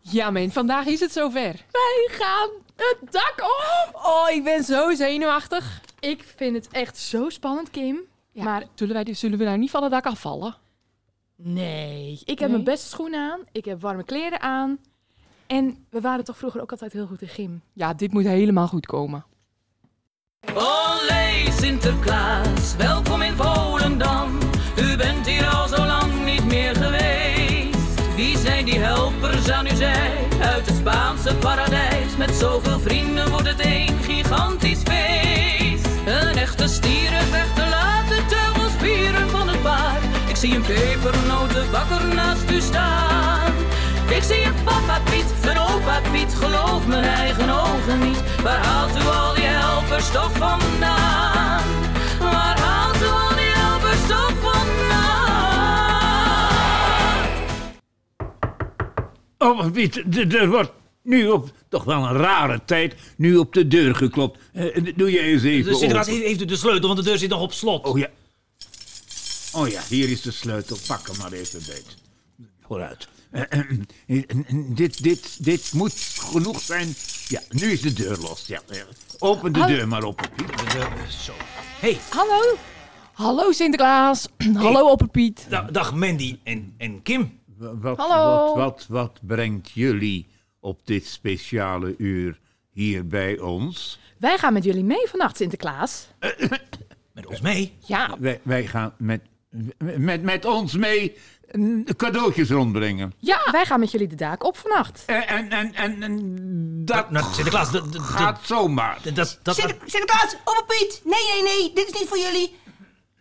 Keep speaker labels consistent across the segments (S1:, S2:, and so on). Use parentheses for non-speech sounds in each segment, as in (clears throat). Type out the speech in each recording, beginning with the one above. S1: Ja, men, vandaag is het zover. Wij gaan het dak op! Oh, ik ben zo zenuwachtig.
S2: Ik vind het echt zo spannend, Kim.
S1: Ja,
S2: Maar-
S1: zullen, wij, zullen we nou niet van het dak afvallen?
S2: Nee. Ik heb
S1: Nee?
S2: mijn beste schoenen aan. Ik heb warme kleren aan. En we waren toch vroeger ook altijd heel goed in gym.
S1: Ja, dit moet helemaal goed komen.
S3: Olé Sinterklaas, welkom in Volendam. U bent hier al zo lang niet meer geweest. Wie zijn die helpers aan uw zij? Uit het Spaanse paradijs. Met zoveel vrienden wordt het een gigantisch feest. Een echte stierenvechter laat de teugels spieren van het paard. Ik zie een pepernotenbakker naast u staan. Ik zie een papa Piet, een opa Piet, geloof mijn eigen ogen niet. Waar haalt u al die helpers toch vandaan? Waar haalt u al die helpers toch vandaan?
S4: Oh, Piet, d- d- er wordt nu op toch wel een rare tijd nu op de deur geklopt. Eh, d- doe je eens even
S5: De Sinterklaas
S4: open.
S5: heeft heeft u de sleutel, want de deur zit nog op slot.
S4: Oh ja. Oh ja, hier is de sleutel. Pak hem maar even bij. Vooruit. Eh, eh, eh, dit, dit, dit moet genoeg zijn. Ja, nu is de deur los. Ja. eh, Open de
S1: Hallo.
S4: deur maar op. Piet.
S5: De deur- zo. Hey,
S1: Hallo? Hallo Sinterklaas. (clears throat) Hallo Opperpiet.
S5: da- dag Mandy en, en Kim.
S4: Wa- Wat,
S1: Hallo.
S4: Wat, wat, wat brengt jullie op dit speciale uur hier bij ons?
S2: Wij gaan met jullie mee vannacht, Sinterklaas.
S5: Met ons mee.
S1: Ja,
S4: Wij, wij gaan met, met, met ons mee mm, cadeautjes rondbrengen.
S2: Ja. Wij gaan met jullie de daak op vannacht.
S4: En, en, en, en, en dat
S5: Dat, nou, Sinterklaas, dat... dat-
S4: gaat zomaar.
S5: dat- dat- dat-
S6: Sinter- Sinterklaas, op Piet. Nee, nee, nee, dit is niet voor jullie.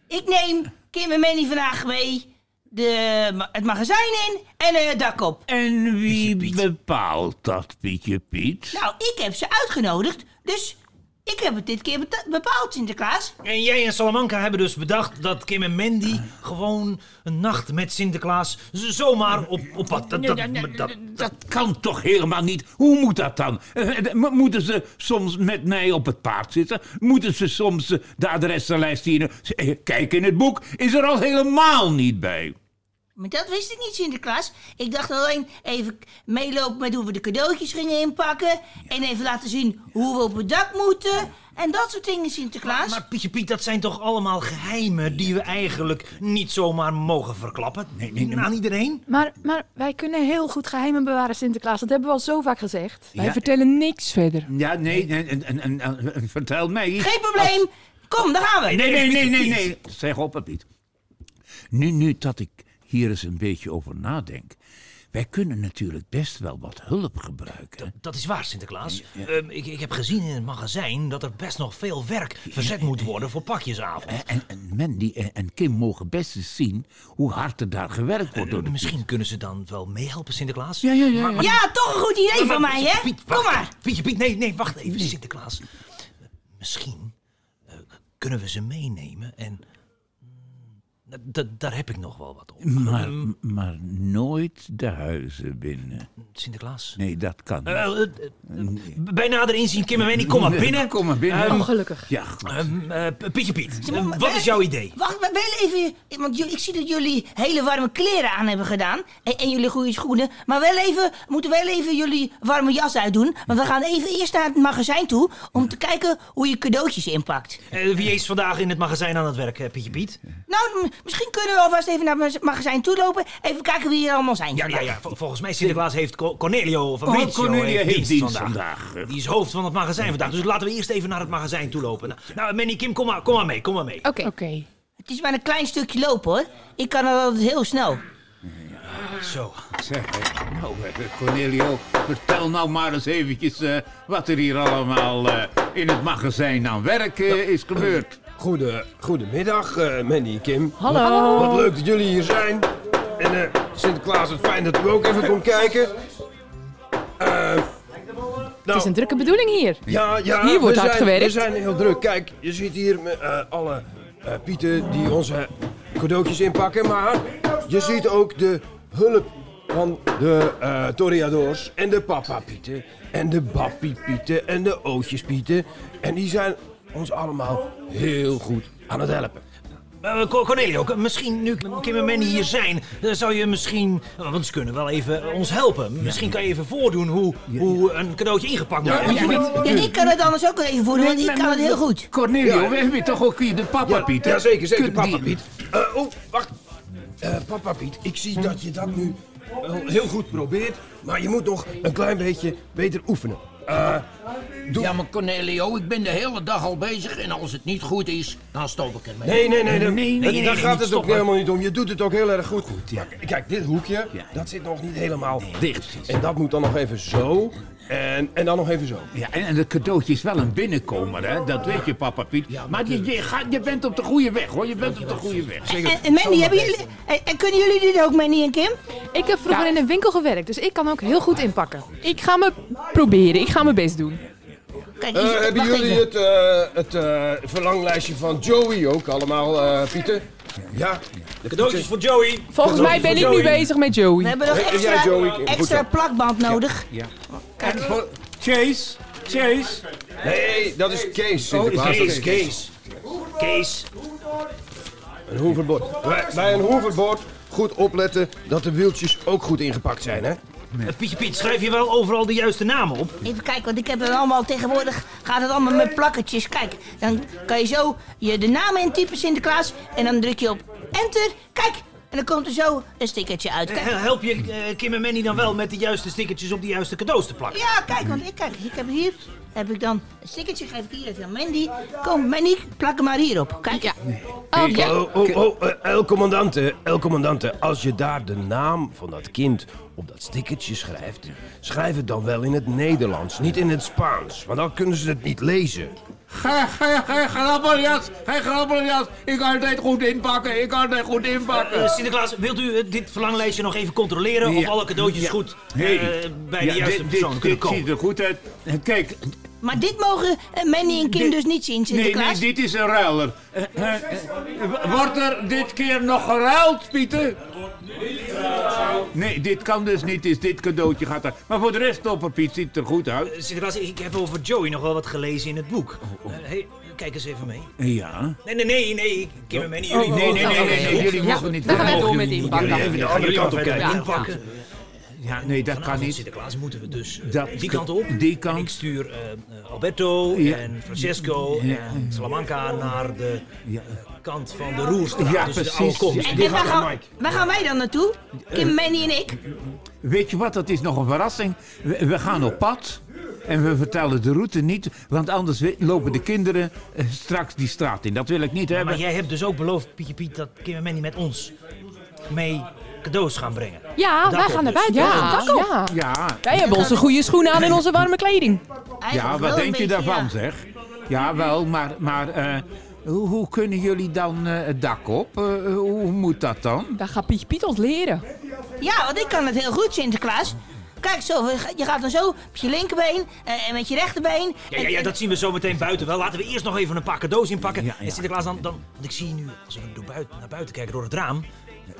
S6: Ik neem Kim en Manny vandaag mee de, ma- het magazijn in en eh, het dak op.
S4: En wie
S5: Pietje Piet.
S4: bepaalt dat, Pietje Piet?
S6: Nou, ik heb ze uitgenodigd, dus ik heb het dit keer beta- bepaald, Sinterklaas.
S5: En jij en Salamanca hebben dus bedacht dat Kim en Mandy gewoon een nacht met Sinterklaas z- zomaar op, op pad. Dat, dat, dat, dat-
S4: Dat kan toch helemaal niet? Hoe moet dat dan? Eh, eh, mo- Moeten ze soms met mij op het paard zitten? Moeten ze soms eh, de adressenlijst zien? Eh, Kijk in het boek, is er al helemaal niet bij.
S6: Maar dat wist ik niet, Sinterklaas. Ik dacht alleen even k- meelopen met hoe we de cadeautjes gingen inpakken. En even laten zien hoe we op het dak moeten. En dat soort dingen, Sinterklaas.
S5: maar Pietje Piet, dat zijn toch allemaal geheimen die we eigenlijk niet zomaar mogen verklappen? Nee, nee, Aan iedereen?
S2: Maar, maar wij kunnen heel goed geheimen bewaren, Sinterklaas. Dat hebben we al zo vaak gezegd.
S1: wij vertellen niks verder.
S4: Ja, nee, en, en, en, en- en- vertel mij iets.
S6: Geen probleem. Kom, daar gaan we.
S4: Nee, nee, nee, nee, nee. Zeg op, Piet. Nu, nu dat ik hier eens een beetje over nadenk. Wij kunnen natuurlijk best wel wat hulp gebruiken.
S5: Dat is waar, Sinterklaas. Ehm, ik, ik heb gezien in het magazijn dat er best nog veel werk verzet moet worden voor pakjesavond.
S4: En, en Mandy en, en Kim mogen best eens zien hoe hard er daar gewerkt wordt. Door de...
S5: Eh, Misschien kunnen ze dan wel meehelpen, Sinterklaas.
S4: Ja, ja, ja,
S5: Maar- maar-
S6: Ja, toch een goed idee van
S5: maar-
S6: mij, hè?
S5: Piet, wacht
S6: Kom maar.
S5: even. Pietje, Piet, nee, nee, wacht even, Sinterklaas. Eh, Misschien eh, kunnen we ze meenemen en... mm, dat- dat- daar heb ik nog wel wat op.
S4: Maar, maar nooit de huizen binnen.
S5: Sinterklaas.
S4: Nee, dat kan niet.
S5: Eh, eh, eh, bij nader inzien, Kim en Wendy, kom maar binnen.
S4: Kom maar binnen.
S2: Oh, gelukkig.
S4: ja, goed.
S5: Ehm, eh, Pietje Piet,
S6: Ja, maar-
S5: wat is jouw idee?
S6: Wacht, maar wel even. Want jullie- ik zie dat jullie hele warme kleren aan hebben gedaan. En, en jullie goede schoenen. Maar wel even, moeten wel even jullie warme jas uitdoen. Want we gaan even eerst naar het magazijn toe. Om te kijken hoe je cadeautjes inpakt.
S5: Eh, wie is vandaag in het magazijn aan het werk, eh, Pietje Piet?
S6: Nou, m- misschien kunnen we alvast even naar het magazijn toe lopen. Even kijken wie er allemaal zijn.
S5: Ja, ja,
S6: vandaag.
S5: ja. Vol- volgens mij Sinterklaas heeft Co- Cornelio van
S4: Oh,
S5: Mezzo
S4: Cornelio heeft dienst vandaag. eh,
S5: Die is hoofd van het magazijn vandaag. Dus laten we eerst even naar het magazijn toe lopen. Nou, nou Manny, Kim, kom maar, kom maar mee. Kom maar mee.
S2: Oké.
S1: Oké.
S6: Het is maar een klein stukje lopen hoor. Ik kan al heel snel.
S5: Zo.
S4: Zeg, eh, nou, eh, Cornelio, vertel nou maar eens eventjes eh, wat er hier allemaal eh, in het magazijn aan werk
S5: Nou,
S4: eh, is gebeurd.
S7: Goede, goedemiddag, eh Mandy en Kim.
S1: Hallo.
S7: Wat leuk dat jullie hier zijn. En eh, Sinterklaas, het fijn dat u ook even komt kijken. Eh, nou,
S2: Het is een drukke bedoeling hier.
S7: ja, ja,
S1: Hier wordt
S7: we
S1: hard
S7: zijn,
S1: gewerkt.
S7: We zijn heel druk. Kijk, je ziet hier me- eh, alle eh, pieten die onze cadeautjes inpakken. Maar je ziet ook de hulp van de eh Toriadors en de papa-pieten. En de bappie-pieten en de ootjes-pieten. En die zijn ons allemaal heel goed aan het helpen.
S5: Eh, Eh, Co- Cornelio, k- misschien nu Kim en Manny hier zijn, eh, zou je misschien... eh, Want ze kunnen wel even eh, ons helpen. Misschien kan je even voordoen hoe, hoe een cadeautje ingepakt wordt.
S6: Ja, ik kan het anders ook even voordoen, want ik kan het heel goed.
S4: Cornelio,
S7: Ja.
S4: we hebben hier toch ook hier de papa
S7: Ja,
S4: Piet, hè?
S7: Ja, zeker, zeker,
S4: Kunnen
S7: papa
S4: die-
S7: Piet. Eh, oh, wacht. Eh, papa Piet, ik zie dat je dat nu wel heel goed probeert, maar je moet nog een klein beetje beter oefenen. Eh,
S8: Ja, maar Cornelio, ik ben de hele dag al bezig en als het niet goed is, dan stop ik ermee.
S7: nee, nee, nee,
S4: nee,
S7: nee, daar
S8: nee,
S7: gaat
S8: niet
S7: het ook
S8: stoppen.
S7: helemaal niet om. Je doet het ook heel erg goed. Maar kijk, dit hoekje, dat zit nog niet helemaal
S5: eh,
S7: dicht.
S4: Eh,
S7: En dat moet dan nog even zo en, en dan nog even zo.
S4: Ja, en, en het cadeautje is wel een binnenkomer, hè? Dat weet je, papa Piet. maar je, je, gaat, je bent op de goede weg, hoor. Je bent op de goede weg. Zeker.
S6: En, en Mandy, hebben jullie, en, en kunnen jullie dit ook, Mandy en Kim?
S2: Ik heb vroeger in een winkel gewerkt, dus ik kan ook heel goed inpakken.
S1: Ik ga me proberen. Ik ga mijn best doen.
S6: Kijk,
S7: Eh,
S6: is-
S7: hebben
S6: wacht
S7: jullie
S6: even.
S7: het, eh, het eh, verlanglijstje van Joey ook allemaal, eh, Pieter? Ja.
S5: De cadeautjes voor Joey.
S1: Volgens mij ben ik nu bezig met
S6: We
S1: Joey.
S6: hebben nog
S7: Hey, heb jij Joey?
S6: extra,
S7: Goed
S6: extra
S7: zo.
S6: plakband nodig.
S9: Chase, Chase.
S7: Nee, dat is Kees. Sinterklaas. Dat Oh, is Kees.
S5: Kees.
S7: Een hoeverbord. Bij- Bij een hoeverbord goed opletten dat de wieltjes ook goed ingepakt zijn, hè?
S5: Eh, Pietje Piet, schrijf je wel overal de juiste namen op?
S6: Even kijken, want ik heb het allemaal tegenwoordig. Gaat het allemaal met plakketjes. Kijk, dan kan je zo je de namen intypen Sinterklaas. En dan druk je op enter. Kijk, en dan komt er zo een stickertje uit. Kijk.
S5: Eh, Help je eh, Kim en Manny dan wel met de juiste stickertjes op de juiste cadeaus te plakken?
S6: Ja, kijk, want ik kijk, ik heb hier. Heb ik dan een stickertje, geef ik hier even aan Mandy. Kom, Mandy, plak hem maar hierop. Kijk. Ja.
S1: Oh, ja.
S7: Oh, oh, oh, eh, el commandante, el commandante. Als je daar de naam van dat kind op dat stickertje schrijft, schrijf het dan wel in het Nederlands, niet in het Spaans. Want dan kunnen ze het niet lezen.
S4: Geen, geen, geen grappeljas, geen grappeljas. Ik kan dit goed inpakken, ik kan dit goed inpakken.
S5: Eh, Sinterklaas, wilt u eh, dit verlanglijstje nog even controleren of
S4: Ja.
S5: alle cadeautjes
S4: Ja.
S5: goed eh,
S4: Hey.
S5: bij
S4: Ja,
S5: de juiste
S4: dit,
S5: persoon
S4: dit,
S5: kunnen
S4: dit
S5: komen?
S4: ziet er goed uit. Kijk,
S6: Maar dit mogen eh, Mandy en Kim
S4: Dit-
S6: dus niet zien,
S4: nee,
S6: Sinterklaas.
S4: nee, dit is een ruiler. Eh, eh, eh, Wordt er dit keer nog geruild, Pieter? Nee, dit kan dus niet, is dit cadeautje gaat er. Maar voor de rest, topper Piet, ziet er goed uit.
S5: Eh, Sinterklaas, ik heb over Joey nog wel wat gelezen in het boek.
S4: Oh,
S5: Eh, hey, kijk eens even mee.
S4: Ja.
S5: Nee, nee, nee, nee. Kim en
S4: Oh,
S5: Manny, jullie...
S4: Nee, nee, nee, nee, nee, jullie mogen niet.
S1: Dan gaan wij
S4: mogen
S1: door met
S4: jullie niet.
S1: inpakken.
S4: Jullie even de andere
S5: Jullie
S4: kant op
S5: gaan verder
S4: kijken.
S5: inpakken.
S4: Ja, Ah, nee, dat kan
S5: Vanavond,
S4: niet.
S5: Sinterklaas moeten we dus eh,
S4: Dat
S5: die
S4: kan-
S5: kant op.
S4: die kant.
S5: En ik stuur eh, eh, Alberto
S4: Ja.
S5: en Francesco en Salamanca naar de eh, kant van de Roerstraat.
S4: Ja,
S5: dus
S4: precies.
S5: de oude komst.
S4: Ja.
S6: En,
S4: Dit
S6: en waar,
S4: gaat aan
S6: gaan,
S4: Mike. Eh,
S6: waar gaan wij dan naartoe? Kim, Mandy en ik.
S4: Weet je wat, dat is nog een verrassing. We, we gaan op pad en we vertellen de route niet, want anders we- lopen de kinderen eh, straks die straat in. Dat wil ik niet hebben.
S5: Maar jij hebt dus ook beloofd, Pietje Piet, dat Kim en Manny met ons mee cadeaus gaan brengen.
S2: Ja, wij
S5: Dak op
S2: gaan naar
S5: dus.
S2: buiten.
S1: Ja,
S2: Dak op.
S1: ja.
S4: Ja,
S1: Wij hebben onze goede schoenen aan en onze warme kleding.
S4: ja,
S6: Eigenlijk wel
S4: wat
S6: een
S4: denk je
S6: beetje,
S4: daarvan
S6: ja.
S4: zeg? Ja, wel, maar, maar eh, hoe, hoe kunnen jullie dan eh, het dak op? Eh, hoe moet dat dan?
S1: Daar gaat Pietje Piet ons leren.
S6: Ja, want ik kan het heel goed, Sinterklaas. Kijk zo, we ga- je gaat dan zo op je linkerbeen eh, en met je rechterbeen.
S5: Ja, ja,
S6: En-
S5: ja,
S6: en-
S5: dat zien we zo meteen buiten wel. Laten we eerst nog even een paar cadeaus inpakken.
S4: Ja, ja.
S5: En Sinterklaas, dan, dan, want ik zie nu, als we door buiten, naar buiten kijken door het raam,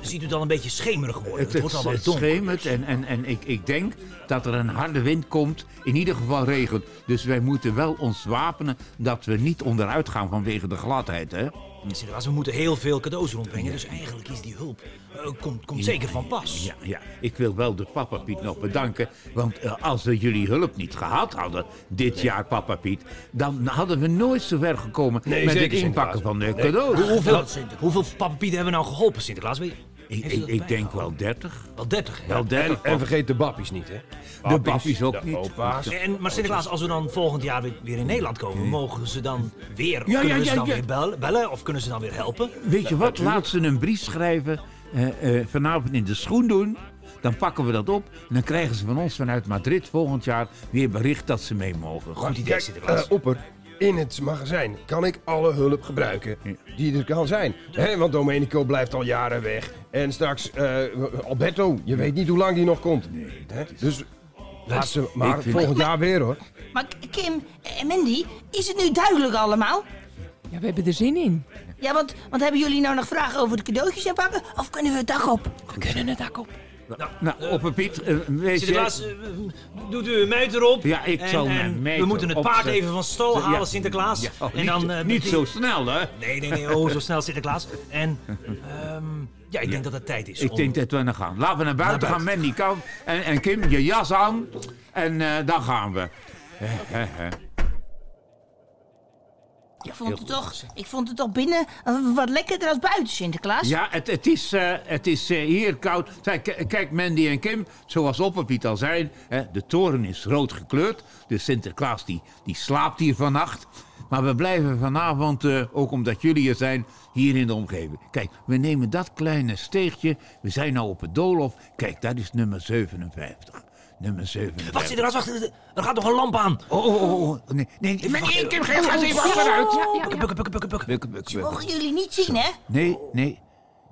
S5: ziet u dan een beetje schemerig worden. Het, wordt al wat
S4: het
S5: donker.
S4: schemert en, en, en ik, ik denk dat er een harde wind komt. In ieder geval regen. Dus wij moeten wel ons wapenen dat we niet onderuit gaan vanwege de gladheid, hè?
S5: Sinterklaas, we moeten heel veel cadeaus rondbrengen, dus eigenlijk is die hulp, eh, komt, komt zeker van pas.
S4: Ja, ja, ik wil wel de Papa Piet nog bedanken. Want eh, als we jullie hulp niet gehad hadden dit jaar, Papa Piet, dan hadden we nooit zo ver gekomen
S7: Nee,
S4: met
S7: zeker,
S4: het inpakken van de cadeaus.
S5: Hoe- Hoeveel, hoeveel pappapieten hebben we nou geholpen, Sinterklaas? Weet je-
S4: Ik,
S5: heeft u
S4: ik,
S5: dat
S4: ik
S5: bij?
S4: denk wel 30.
S5: Wel 30. hè?
S4: Wel 30.
S7: En vergeet de babbies niet, hè?
S4: de pappies ook
S7: de
S4: niet.
S7: opa's.
S5: En, maar Sinterklaas, als we dan volgend jaar weer, weer in Nederland komen, mogen ze dan weer, of
S4: Ja,
S5: kunnen
S4: ja,
S5: ze
S4: ja,
S5: dan
S4: ja.
S5: weer bellen, bellen of kunnen ze dan weer helpen?
S4: Weet je wat? Laat ze een brief schrijven. eh, eh, vanavond in de schoen doen. Dan pakken we dat op. En dan krijgen ze van ons vanuit Madrid volgend jaar weer bericht dat ze mee mogen.
S5: Goed idee,
S7: Kijk,
S5: Sinterklaas.
S7: eh, opper, in het magazijn kan ik alle hulp gebruiken die er kan zijn. Hè, want Domenico blijft al jaren weg. En straks eh, Alberto, je weet niet hoe lang die nog komt. Hè? Dus laat ze maar
S4: ik vind-
S7: volgend jaar weer hoor.
S6: Maar K- Kim en Mandy, is het nu duidelijk allemaal?
S1: Ja, we hebben er zin in.
S6: Ja, want, want hebben jullie nou nog vragen over de cadeautjes en pakken? Of kunnen we het dak op?
S1: We kunnen het dak op.
S5: Nou,
S4: Nou, op een Piet, eh, weet je...
S5: Sinterklaas, eh, doet u een muit erop.
S4: Ja, ik
S5: en,
S4: zal mijn
S5: en
S4: meid
S5: We moeten het paard
S4: opzetten.
S5: even van stal
S4: Ja.
S5: halen, Sinterklaas.
S4: Ja, oh,
S5: en dan,
S4: niet,
S5: eh,
S4: niet
S5: die-
S4: zo snel, hè?
S5: Nee, nee, nee, oh, zo snel Sinterklaas. En ehm, ja, ik denk dat het tijd is.
S4: Ik
S5: om-
S4: denk dat we naar gaan. Laten we naar buiten,
S5: Naar
S4: gaan, Mandy. Kan. En, en Kim, je jas aan. En eh, dan gaan we.
S6: Ik vond, het toch, ik vond het toch binnen eh, wat lekkerder als buiten, Sinterklaas.
S4: Ja, het, het is, eh, het is eh, hier koud. Kijk, k- Kijk, Mandy en Kim, zoals Opperpiet al zei, hè, de toren is rood gekleurd. Dus Sinterklaas die, die slaapt hier vannacht. Maar we blijven vanavond, eh, ook omdat jullie er zijn, hier in de omgeving. Kijk, we nemen dat kleine steegje. We zijn nou op het doolhof. Kijk, dat is nummer 57. Nummer 57.
S5: Wacht, Sinterklaas, wacht. Er gaat nog een lamp aan.
S4: Oh, oh, oh, oh, nee, nee.
S5: Even wachten.
S4: Kim, ga eens even
S2: Ja,
S4: achteruit.
S2: ja,
S5: Bukken,
S2: ja.
S5: bukken, bukken, bukken, bukken.
S4: Buk, buk, buk.
S6: Mogen jullie niet zien, hè?
S4: Nee, nee.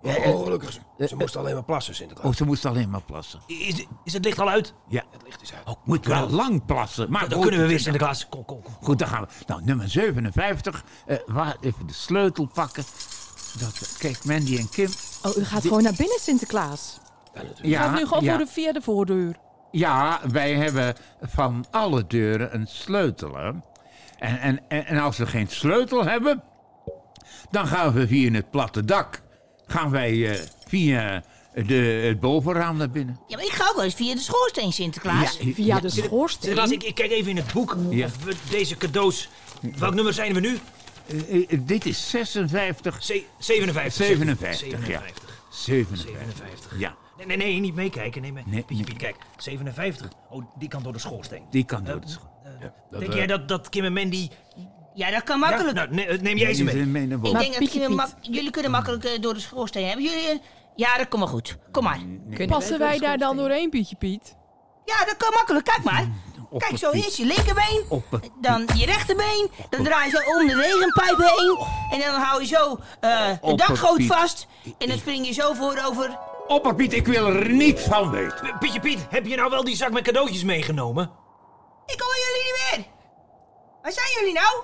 S7: Oh, gelukkig. Ze moest alleen maar plassen, Sinterklaas.
S4: Oh, ze moest alleen maar plassen.
S5: Is, is het licht al uit?
S4: Ja.
S7: Licht is uit.
S4: Moet wel lang plassen. Maar
S5: Dan
S4: Ah, goed,
S5: kunnen we weer, Sinterklaas. Kom, kom, kom.
S4: Goed, dan gaan we. Nou, nummer 57. Eh, waar even de sleutel pakken. Dat, kijk, Mandy en Kim.
S2: Oh, u gaat gewoon naar binnen, Sinterklaas.
S4: Ja,
S1: Gaat nu gewoon
S4: Ah, ja,
S1: voor de vierde voordeur.
S4: ja, wij hebben van alle deuren een sleutel. hè. En, en, en, en als we geen sleutel hebben, dan gaan we via het platte dak. Gaan wij eh, via de, het bovenraam naar binnen. eh,
S6: Ja, maar ik ga ook wel eens via de schoorsteen, Sinterklaas.
S2: Via de schoorsteen.
S5: Sinterklaas, ik, ik kijk even in het boek
S4: Ja.
S5: of we deze cadeaus... Welk nummer zijn we nu?
S4: Eh, eh, dit is 56.
S5: Ze- 57.
S4: 57, ja.
S5: 57.
S4: 57.
S5: 57.
S4: Ja.
S5: Nee, nee, nee, niet meekijken. Nee, maar-
S4: Nee,
S5: Pietje,
S4: nee.
S5: Piet, kijk. 57. Oh, die kan door de schoorsteen.
S4: Die kan door
S5: Eh,
S4: de school.
S5: eh, denk jij dat, dat Kim en Mandy...
S6: Ja, dat kan
S5: Ja,
S6: makkelijk.
S5: nou, ne- neem jij ze mee.
S4: mee naar
S6: ik
S4: boven.
S6: denk dat
S2: Pietje
S6: jullie,
S2: Piet.
S6: mak- jullie kunnen makkelijk eh, door de schoorsteen hebben. Jullie, eh, ja, dat komt maar goed. Kom maar.
S1: Passen wij daar dan doorheen, Pietje Piet?
S6: Ja, dat kan makkelijk. Kijk maar.
S4: Op
S6: Kijk,
S4: het
S6: zo
S4: Piet.
S6: eerst je linkerbeen,
S4: Op het
S6: dan je rechterbeen, dan draai je zo om de regenpijp heen en dan hou je zo eh de
S4: Op het
S6: dakgoot
S4: Piet.
S6: vast en dan spring je zo voorover.
S4: Opperpiet, ik wil er niet van weten.
S5: P- Pietje Piet, heb je nou wel die zak met cadeautjes meegenomen?
S6: Ik hoor jullie niet meer. Waar zijn jullie nou?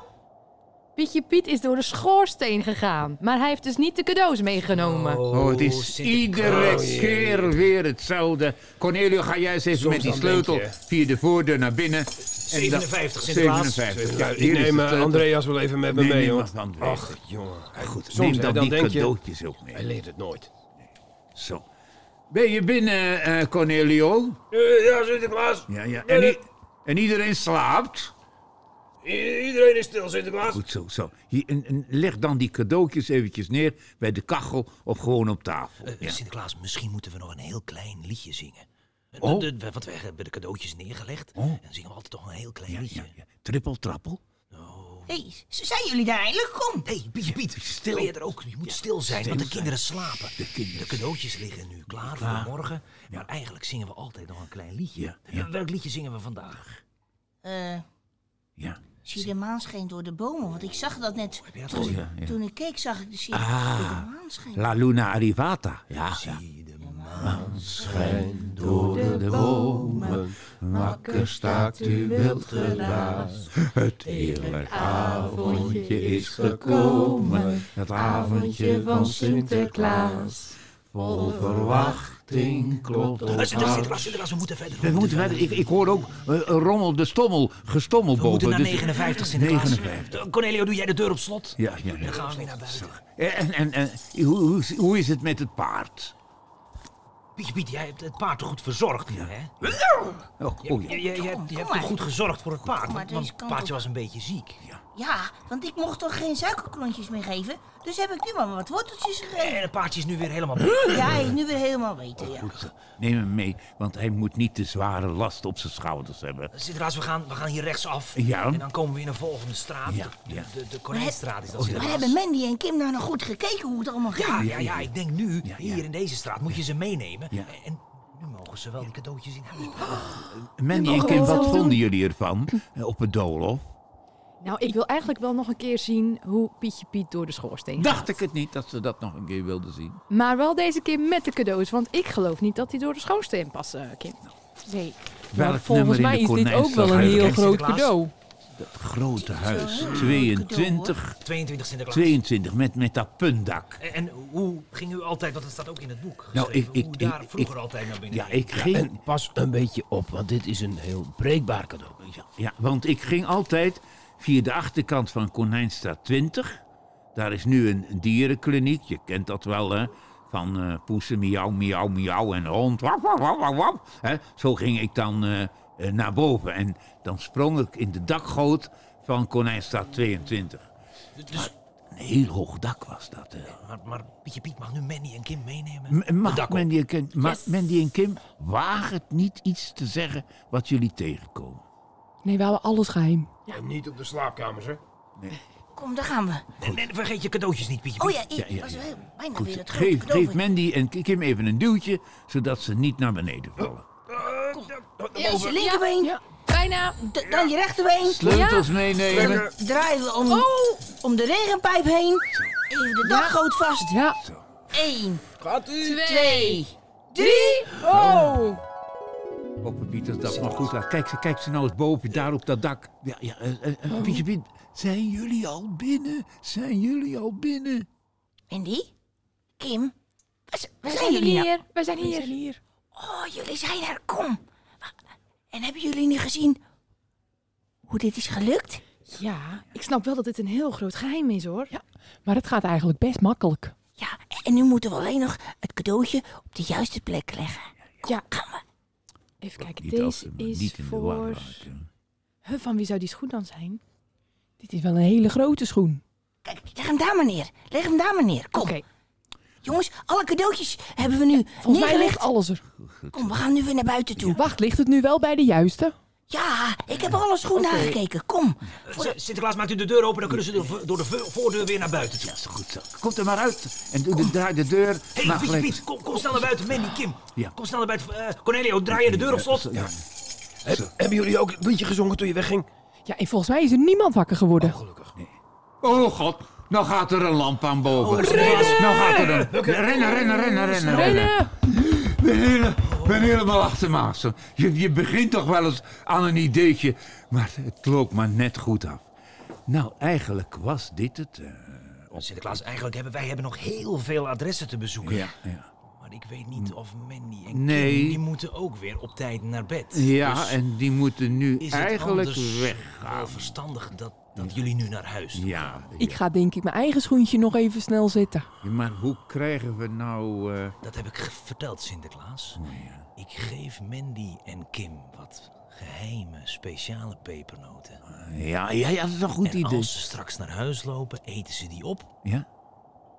S2: Pietje Piet is door de schoorsteen gegaan. Maar hij heeft dus niet de cadeaus meegenomen.
S4: Oh, het is iedere keer weer hetzelfde. Cornelio, ga jij eens even met die
S7: dan
S4: sleutel
S7: denk
S4: via de voordeur naar binnen. En dan-
S5: 57, Sinterklaas.
S4: 57.
S7: Ja,
S4: Ja,
S7: ik neem eh, Andreas wel even met me
S4: Nee,
S7: mee,
S4: neem
S7: hoor.
S4: maar Andreas.
S7: Ach, jongen. Goed, soms
S4: Neem
S7: hè,
S4: dan,
S7: dan
S4: die
S7: denk je,
S4: cadeautjes ook
S7: hij
S4: mee.
S7: leert het nooit.
S4: Zo. Ben je binnen, eh, Cornelio?
S5: Eh, ja, Sinterklaas.
S4: Ja, ja.
S7: Eh.
S4: En, i- en iedereen slaapt?
S5: iedereen is stil, Sinterklaas.
S4: Goed zo, zo. Hier, en- en leg dan die cadeautjes eventjes neer bij de kachel of gewoon op tafel.
S7: Eh,
S4: Ja.
S5: Eh, Sinterklaas, misschien moeten we nog een heel klein liedje zingen. Eh,
S4: Oh.
S5: De, de- want we hebben de cadeautjes neergelegd. En dan zingen we altijd toch een heel klein liedje.
S4: Ja, ja. Trippel, trappel.
S6: Hé, z- zijn jullie daar eindelijk? Kom.
S5: hey, Pietje Piet, stil. ben je er ook? Je moet stil zijn, want de kinderen slapen. De, cadeautjes liggen nu klaar voor morgen. Maar eigenlijk zingen we altijd nog een klein liedje.
S4: Ja, ja.
S5: Eh, Welk liedje zingen we vandaag?
S6: Eh,
S4: Ja.
S6: zie de maan scheen door de bomen, want ik zag dat net.
S5: Heb jij dat gezien?
S4: Oh, ja. Ah.
S6: Toen ik keek zag ik de zin. door de maan scheen.
S4: La Luna Arrivata. Ja, ja. door de bomen, wakker staat u wild gelaas. Het heerlijk avondje is gekomen, het avondje van Sinterklaas. Vol verwachting klopt
S5: Eh,
S4: ons
S5: Sinterklaas,
S4: hart.
S5: Sinterklaas, Sinterklaas, we moeten verder.
S4: We moeten verder. Ik, ik hoor ook eh, een rommel de stommel, gestommel
S5: We moeten
S4: boven.
S5: naar
S4: dus-
S5: 59, Sinterklaas.
S4: 59.
S5: Eh, Cornelio, doe jij de deur op slot?
S4: Ja, ja, ja.
S5: Dan gaan we weer naar buiten.
S4: En, en, en hoe, hoe, hoe is het met het paard?
S5: Pietje Piet, jij hebt het paard toch goed verzorgd nu, hè?
S4: Oh,
S5: Je,
S4: oh ja.
S5: je, je, je hebt, je hebt
S6: maar.
S5: toch goed gezorgd voor het paard, want,
S6: deze
S5: want het
S6: kant
S5: paardje
S6: op.
S5: was een beetje ziek.
S6: Ja, want ik mocht toch geen suikerklontjes meer geven? Dus heb ik nu maar wat worteltjes gegeven.
S5: En het paardje is nu weer helemaal...
S6: Ja, hij is nu weer helemaal beter, ja.
S4: Neem hem mee, want hij moet niet de zware last op zijn schouders hebben.
S5: Sinterklaas, we gaan, we gaan hier rechtsaf.
S4: Ja.
S5: En dan komen we in een volgende straat.
S4: Ja,
S5: De-
S4: ja. Oh,
S5: De, de Konijnstraat is dat,
S6: Maar
S5: Sinterklaas.
S6: hebben Mandy en Kim nou nog goed gekeken hoe het allemaal ging?
S5: Ja, ja, ja, ik denk nu,
S4: Ja, ja.
S5: hier in deze straat, moet je ze meenemen.
S4: Ja.
S5: En nu mogen ze wel die cadeautjes in huis brengen.
S4: Mandy en Kim, wat vonden jullie ervan eh, op het doolhof?
S2: Nou, ik wil eigenlijk wel nog een keer zien hoe Pietje Piet door de schoorsteen gaat.
S4: Dacht ik het niet dat ze dat nog een keer wilden zien.
S2: Maar wel deze keer met de cadeaus, want ik geloof niet dat die door de schoorsteen passen, eh, Kim.
S1: Nee.
S4: Welk
S1: volgens
S4: nummer in
S1: mij
S4: de
S1: is dit ook wel een
S4: konijnenslag
S1: heel
S5: Kijk,
S1: groot
S5: Sinterklaas.
S1: cadeau.
S5: Dat
S4: Dat grote huis, 22,
S5: 22 Sinterklaas.
S4: 22, met, met dat puntdak.
S5: En, en hoe ging u altijd, want dat staat ook in het boek
S4: Nou,
S5: geschreven,
S4: ik- ik-
S5: hoe daar
S4: ik-
S5: vroeger
S4: ik-
S5: altijd naar binnen
S4: Ja,
S5: ging.
S4: ik ging,
S8: Pas een beetje op, want dit is een heel breekbaar cadeau.
S4: ja, want ik ging altijd via de achterkant van Konijnstraat 20. Daar is nu een, een dierenkliniek, je kent dat wel, hè? Van eh, poezen, miauw, miauw, miauw en hond. Wap, wap, wap, wap, wap. Hè? Zo ging ik dan eh, eh, naar boven en dan sprong ik in de dakgoot van Konijnstraat 22.
S5: Dus,
S4: Een heel hoog dak was dat, hè?
S5: maar, maar Pietje Piet mag nu Manny en Kim meenemen.
S4: M-
S5: Het
S4: Mag
S5: dak op.
S4: Mandy en, Kim, mag Mandy en Kim, waag het niet iets te zeggen wat jullie tegenkomen.
S1: Nee, we houden alles geheim.
S7: En niet op de slaapkamers, hè?
S6: Kom, daar gaan we.
S5: Nee, nee, vergeet je cadeautjes niet, Pietje Piet.
S6: Oh ja, ik
S4: Ja, ja,
S6: was
S4: ja.
S6: heel- bijna
S4: Goed,
S6: weer het grote
S4: geef,
S6: cadeau.
S4: geef Mandy en Kim even een duwtje, zodat ze niet naar beneden vallen.
S6: Eerst je linkerbeen,
S2: Bijna.
S6: d- dan je rechterbeen.
S4: Sleutels meenemen.
S6: Draaien we om, om de regenpijp heen. Even de dakgoot vast.
S1: Ja.
S6: Eén,
S7: Gaat u?
S6: twee,
S1: Drie. Oh.
S4: Papa Piet, dat maar goed laat. Kijk, ze- kijk ze nou eens boven, daar op dat dak. Ja, ja, eh, eh, eh,
S2: Oh.
S4: Pietje Piet, zijn jullie al binnen? Zijn jullie al binnen?
S6: Wendy, Kim, waar, z- waar
S2: We
S6: zijn jullie nou?
S2: hier. We zijn hier.
S1: Hier.
S6: Oh, jullie zijn er, kom. En hebben jullie nu gezien hoe dit is gelukt?
S2: Ja, ik snap wel dat dit een heel groot geheim is hoor.
S1: Ja. Maar het gaat eigenlijk best makkelijk.
S6: Ja, en nu moeten we alleen nog het cadeautje op de juiste plek leggen.
S2: Ja.
S6: Gaan we.
S2: Even kijken,
S4: Niet
S2: deze
S4: als ze maar
S2: is
S4: niet in de war
S2: voor...
S4: raken.
S2: Huh, van wie zou die schoen dan zijn?
S1: Dit is wel een hele grote schoen.
S6: Kijk, leg hem daar maar neer. Leg hem daar maar neer. Kom.
S2: Oké.
S6: Jongens, alle cadeautjes hebben we nu
S1: Volgens mij
S6: neergelegd.
S1: ligt alles er.
S6: Kom, we gaan nu weer naar buiten toe.
S1: Wacht, ligt het nu wel bij de juiste?
S6: Ja, ik heb alles goed nagekeken. Kom. Voor de-
S5: Z- Sinterklaas maakt u de deur open, dan kunnen ze door, v- door de vo- voordeur weer naar buiten toe.
S4: Ja, is goed zo. Komt er maar uit en doe de, draai de deur.
S5: Hé, hey,
S4: maar
S5: Pietje
S4: gelijk-
S5: Piet, kom, kom snel naar buiten. Manny, Kim,
S4: Nou, Ja.
S5: kom snel naar buiten. Eh, Cornelio, draai je de deur op slot.
S4: Ja,
S7: Hebben jullie ook een liedje gezongen toen je wegging?
S1: Ja, en volgens mij is er niemand wakker geworden.
S4: Oh god, nou gaat er een lamp aan boven. Nou gaat er een... Rennen, rennen, rennen, rennen, rennen.
S1: Rennen.
S4: Ik ben, hele- ik ben helemaal achter Maas. Je, je begint toch wel eens aan een ideetje, maar het loopt maar net goed af. Nou, eigenlijk was dit het. eh,
S5: Sinterklaas, eigenlijk hebben wij hebben nog heel veel adressen te bezoeken.
S4: ja.
S5: Maar ik weet niet of Manny en
S4: Nee.
S5: Kim, die moeten ook weer op tijd naar bed.
S4: Ja,
S5: Dus
S4: en die moeten nu
S5: is het
S4: eigenlijk
S5: anders
S4: weggaan.
S5: wel verstandig dat, dat jullie nu naar huis doen?
S4: Ja,
S1: Ik ga denk ik mijn eigen schoentje nog even snel zetten.
S4: ja, maar hoe krijgen we nou... eh,
S5: Dat heb ik ge- verteld, Sinterklaas. Ik geef Mandy en Kim wat geheime, speciale pepernoten.
S4: Ja, ja, ja, dat is een goed
S5: en
S4: idee.
S5: als ze straks naar huis lopen, eten ze die op.
S4: Ja,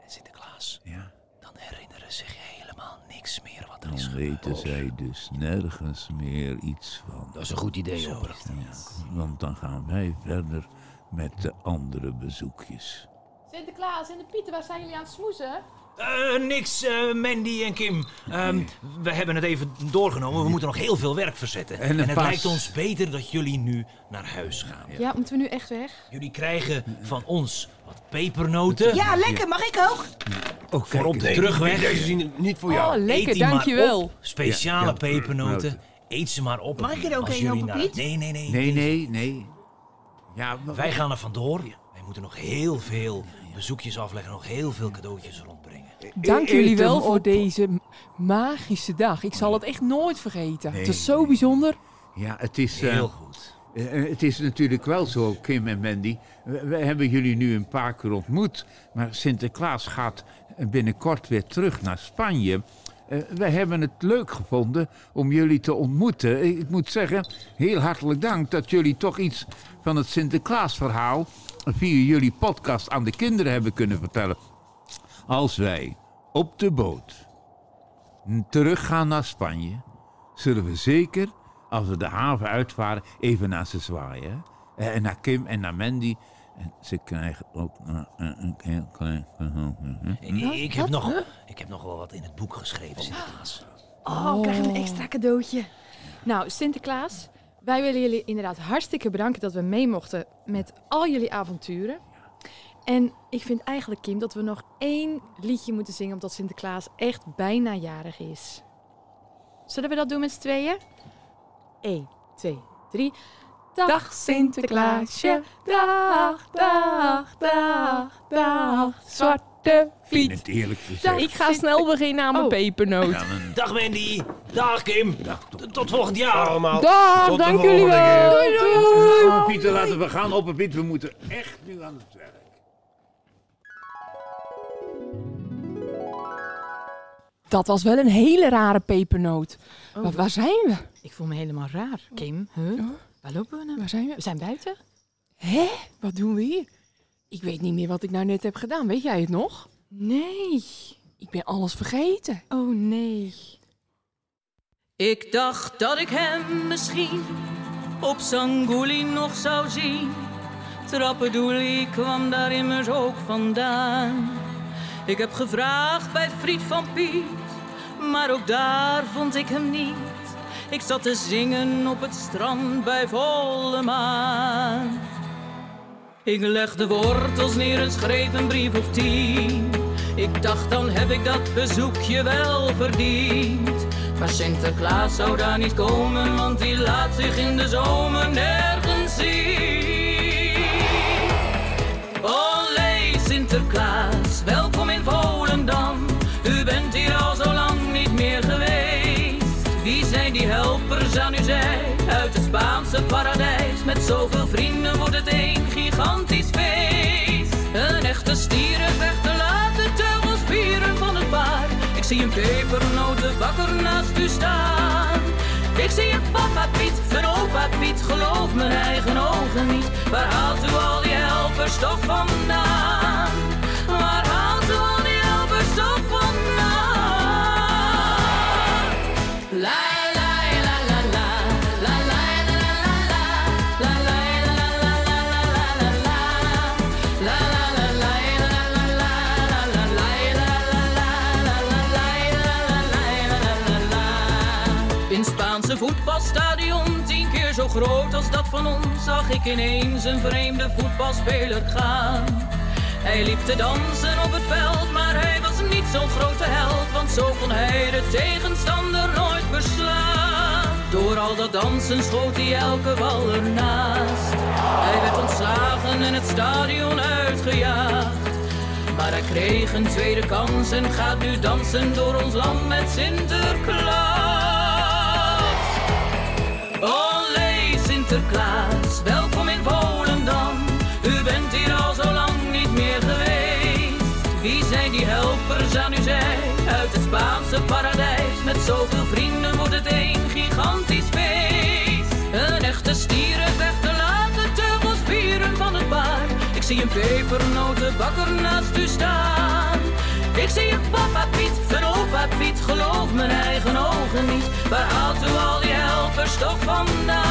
S5: En Sinterklaas,
S4: ja.
S5: dan herinneren ze zich helemaal niks meer wat er is
S4: Dan
S5: gebeurd.
S4: weten zij dus nergens meer iets van.
S8: Dat is een goed idee,
S5: Zo
S8: hoor.
S5: is dat.
S4: Want dan gaan wij verder met de andere bezoekjes.
S2: Sinterklaas en de Pieter, waar zijn jullie aan het smoezen?
S5: Eh, niks, eh, Mandy en Kim. Ehm, We hebben het even doorgenomen. We moeten nog heel veel werk verzetten.
S4: En een
S5: het
S4: pas.
S5: lijkt ons beter dat jullie nu naar huis gaan.
S2: Ja. moeten we nu echt weg?
S5: Jullie krijgen van ons wat pepernoten.
S6: Ja, lekker. Mag ik ook?
S4: Ook
S5: Voor op de terugweg.
S7: Deze zien niet voor jou.
S1: Oh, lekker,
S5: Eet die maar
S1: dankjewel.
S5: op.
S4: Ja,
S5: Speciale
S4: ja.
S5: pepernoten. Eet ze maar op.
S6: Mag ik er ook
S5: Als
S6: een,
S5: jullie
S6: Jan
S5: naar-
S6: Papiet?
S5: Nee, nee, nee.
S4: Nee, nee, nee. Ja, maar-
S5: Wij gaan er vandoor. Wij moeten nog heel veel bezoekjes afleggen. Nog heel veel cadeautjes rondbrengen.
S1: Dank
S4: Eh, Eet
S1: jullie wel
S4: hem
S1: voor
S4: op.
S1: deze m- magische dag. Ik zal het echt nooit vergeten.
S4: Nee,
S1: het is zo
S4: nee.
S1: bijzonder.
S4: Ja, het is, eh,
S5: Heel goed.
S4: eh, het is natuurlijk wel zo, Kim en Mandy. We, we hebben jullie nu een paar keer ontmoet. Maar Sinterklaas gaat binnenkort weer terug naar Spanje. Eh, wij hebben het leuk gevonden om jullie te ontmoeten. Eh, Ik moet zeggen, heel hartelijk dank dat jullie toch iets van het Sinterklaasverhaal via jullie podcast aan de kinderen hebben kunnen vertellen. Als wij op de boot teruggaan naar Spanje, zullen we zeker, als we de haven uitvaren, even naar ze zwaaien. hè? Eh, En naar Kim en naar Mandy. En ze krijgen ook eh, eh, een heel klein cadeautje, hè?
S5: Ik, ik heb nog, ik heb nog wel wat in het boek geschreven, Sinterklaas.
S2: Oh, krijg een extra cadeautje. Nou, Sinterklaas, wij willen jullie inderdaad hartstikke bedanken dat we mee mochten met al jullie avonturen. En ik vind eigenlijk, Kim, dat we nog één liedje moeten zingen omdat Sinterklaas echt bijna jarig is. Zullen we dat doen met z'n tweeën? 1, 2, 3.
S1: Dag Sinterklaasje, dag, dag, dag, dag, zwarte
S4: En
S1: fiets.
S4: het eerlijk
S1: Ja,
S4: gezegd.
S1: Nou, Ik ga snel beginnen aan mijn
S2: Oh.
S1: pepernoot.
S4: dan een
S5: Dag Mandy. Dag Kim.
S4: dag toch.
S5: Tot volgend jaar.
S7: Allemaal.
S1: Dag,
S7: Tot de
S1: dank
S7: volgende
S1: jullie wel.
S7: keer.
S1: Doei.
S4: Opa "Oh, Pieter, laten we gaan. Opa Pieter, we moeten echt nu aan het werk.
S1: Dat was wel een hele rare pepernoot. Wa- waar zijn we?
S2: Oh. Ik voel me helemaal raar. Kim, huh?
S1: Huh?
S2: waar lopen we nou?
S1: Waar zijn we?
S2: We zijn buiten.
S1: Hé, wat doen we hier? Ik weet niet meer wat ik nou net heb gedaan. Weet jij het nog?
S2: Nee.
S1: Ik ben alles vergeten.
S2: Oh nee.
S3: Ik dacht dat ik hem misschien op Sangouli nog zou zien. Trappedoelie kwam daar immers ook vandaan. Ik heb gevraagd bij Friet van Piet, maar ook daar vond ik hem niet. Ik zat te zingen op het strand bij volle maan. Ik leg de wortels neer en schreef een brief of tien. Ik dacht dan heb ik dat bezoekje wel verdiend. Maar Sinterklaas zou daar niet komen, want die laat zich in de zomer nergens zien. Olé Sinterklaas, welkom in Volendam. U bent hier al zo lang niet meer geweest. Wie zijn die helpers aan uw zij? Uit het Spaanse paradijs. Met zoveel vrienden wordt het een gigantisch feest. Een echte stierenvechter laat de teugels vieren van het paard. Ik zie een pepernotenbakker naast u staan. Ik zie een papa Piet, een opa Piet, geloof mijn eigen ogen niet. Waar haalt u al die helpers toch vandaan? Waar haalt u al die helpers toch vandaan? La la la la la, la la la la la, la la la la la la la la la, la la la la la la la la la In Spaanse voetbalstadion, tien keer zo groot als dat van ons, zag ik ineens een vreemde voetbalspeler gaan. Hij liep te dansen op het veld, maar hij was niet zo'n grote held, want zo kon hij de tegenstander nooit verslaan. Door al dat dansen schoot hij elke bal ernaast. Hij werd ontslagen en het stadion uitgejaagd. Maar hij kreeg een tweede kans en gaat nu dansen door ons land met Sinterklaas. Olé Sinterklaas, welkom in Volendam. U bent hier al zo lang niet meer geweest. Wie zijn die helpers aan uw zij? Uit het Spaanse paradijs. Met zoveel vrienden wordt het een gigantisch feest. Een echte stierenvechter laat de teugels vieren van het paard. Ik zie een pepernotenbakker naast u staan. Ik zie een papa Piet, een opa Piet, geloof mijn eigen ogen niet. Waar haalt u al die helpers toch vandaan?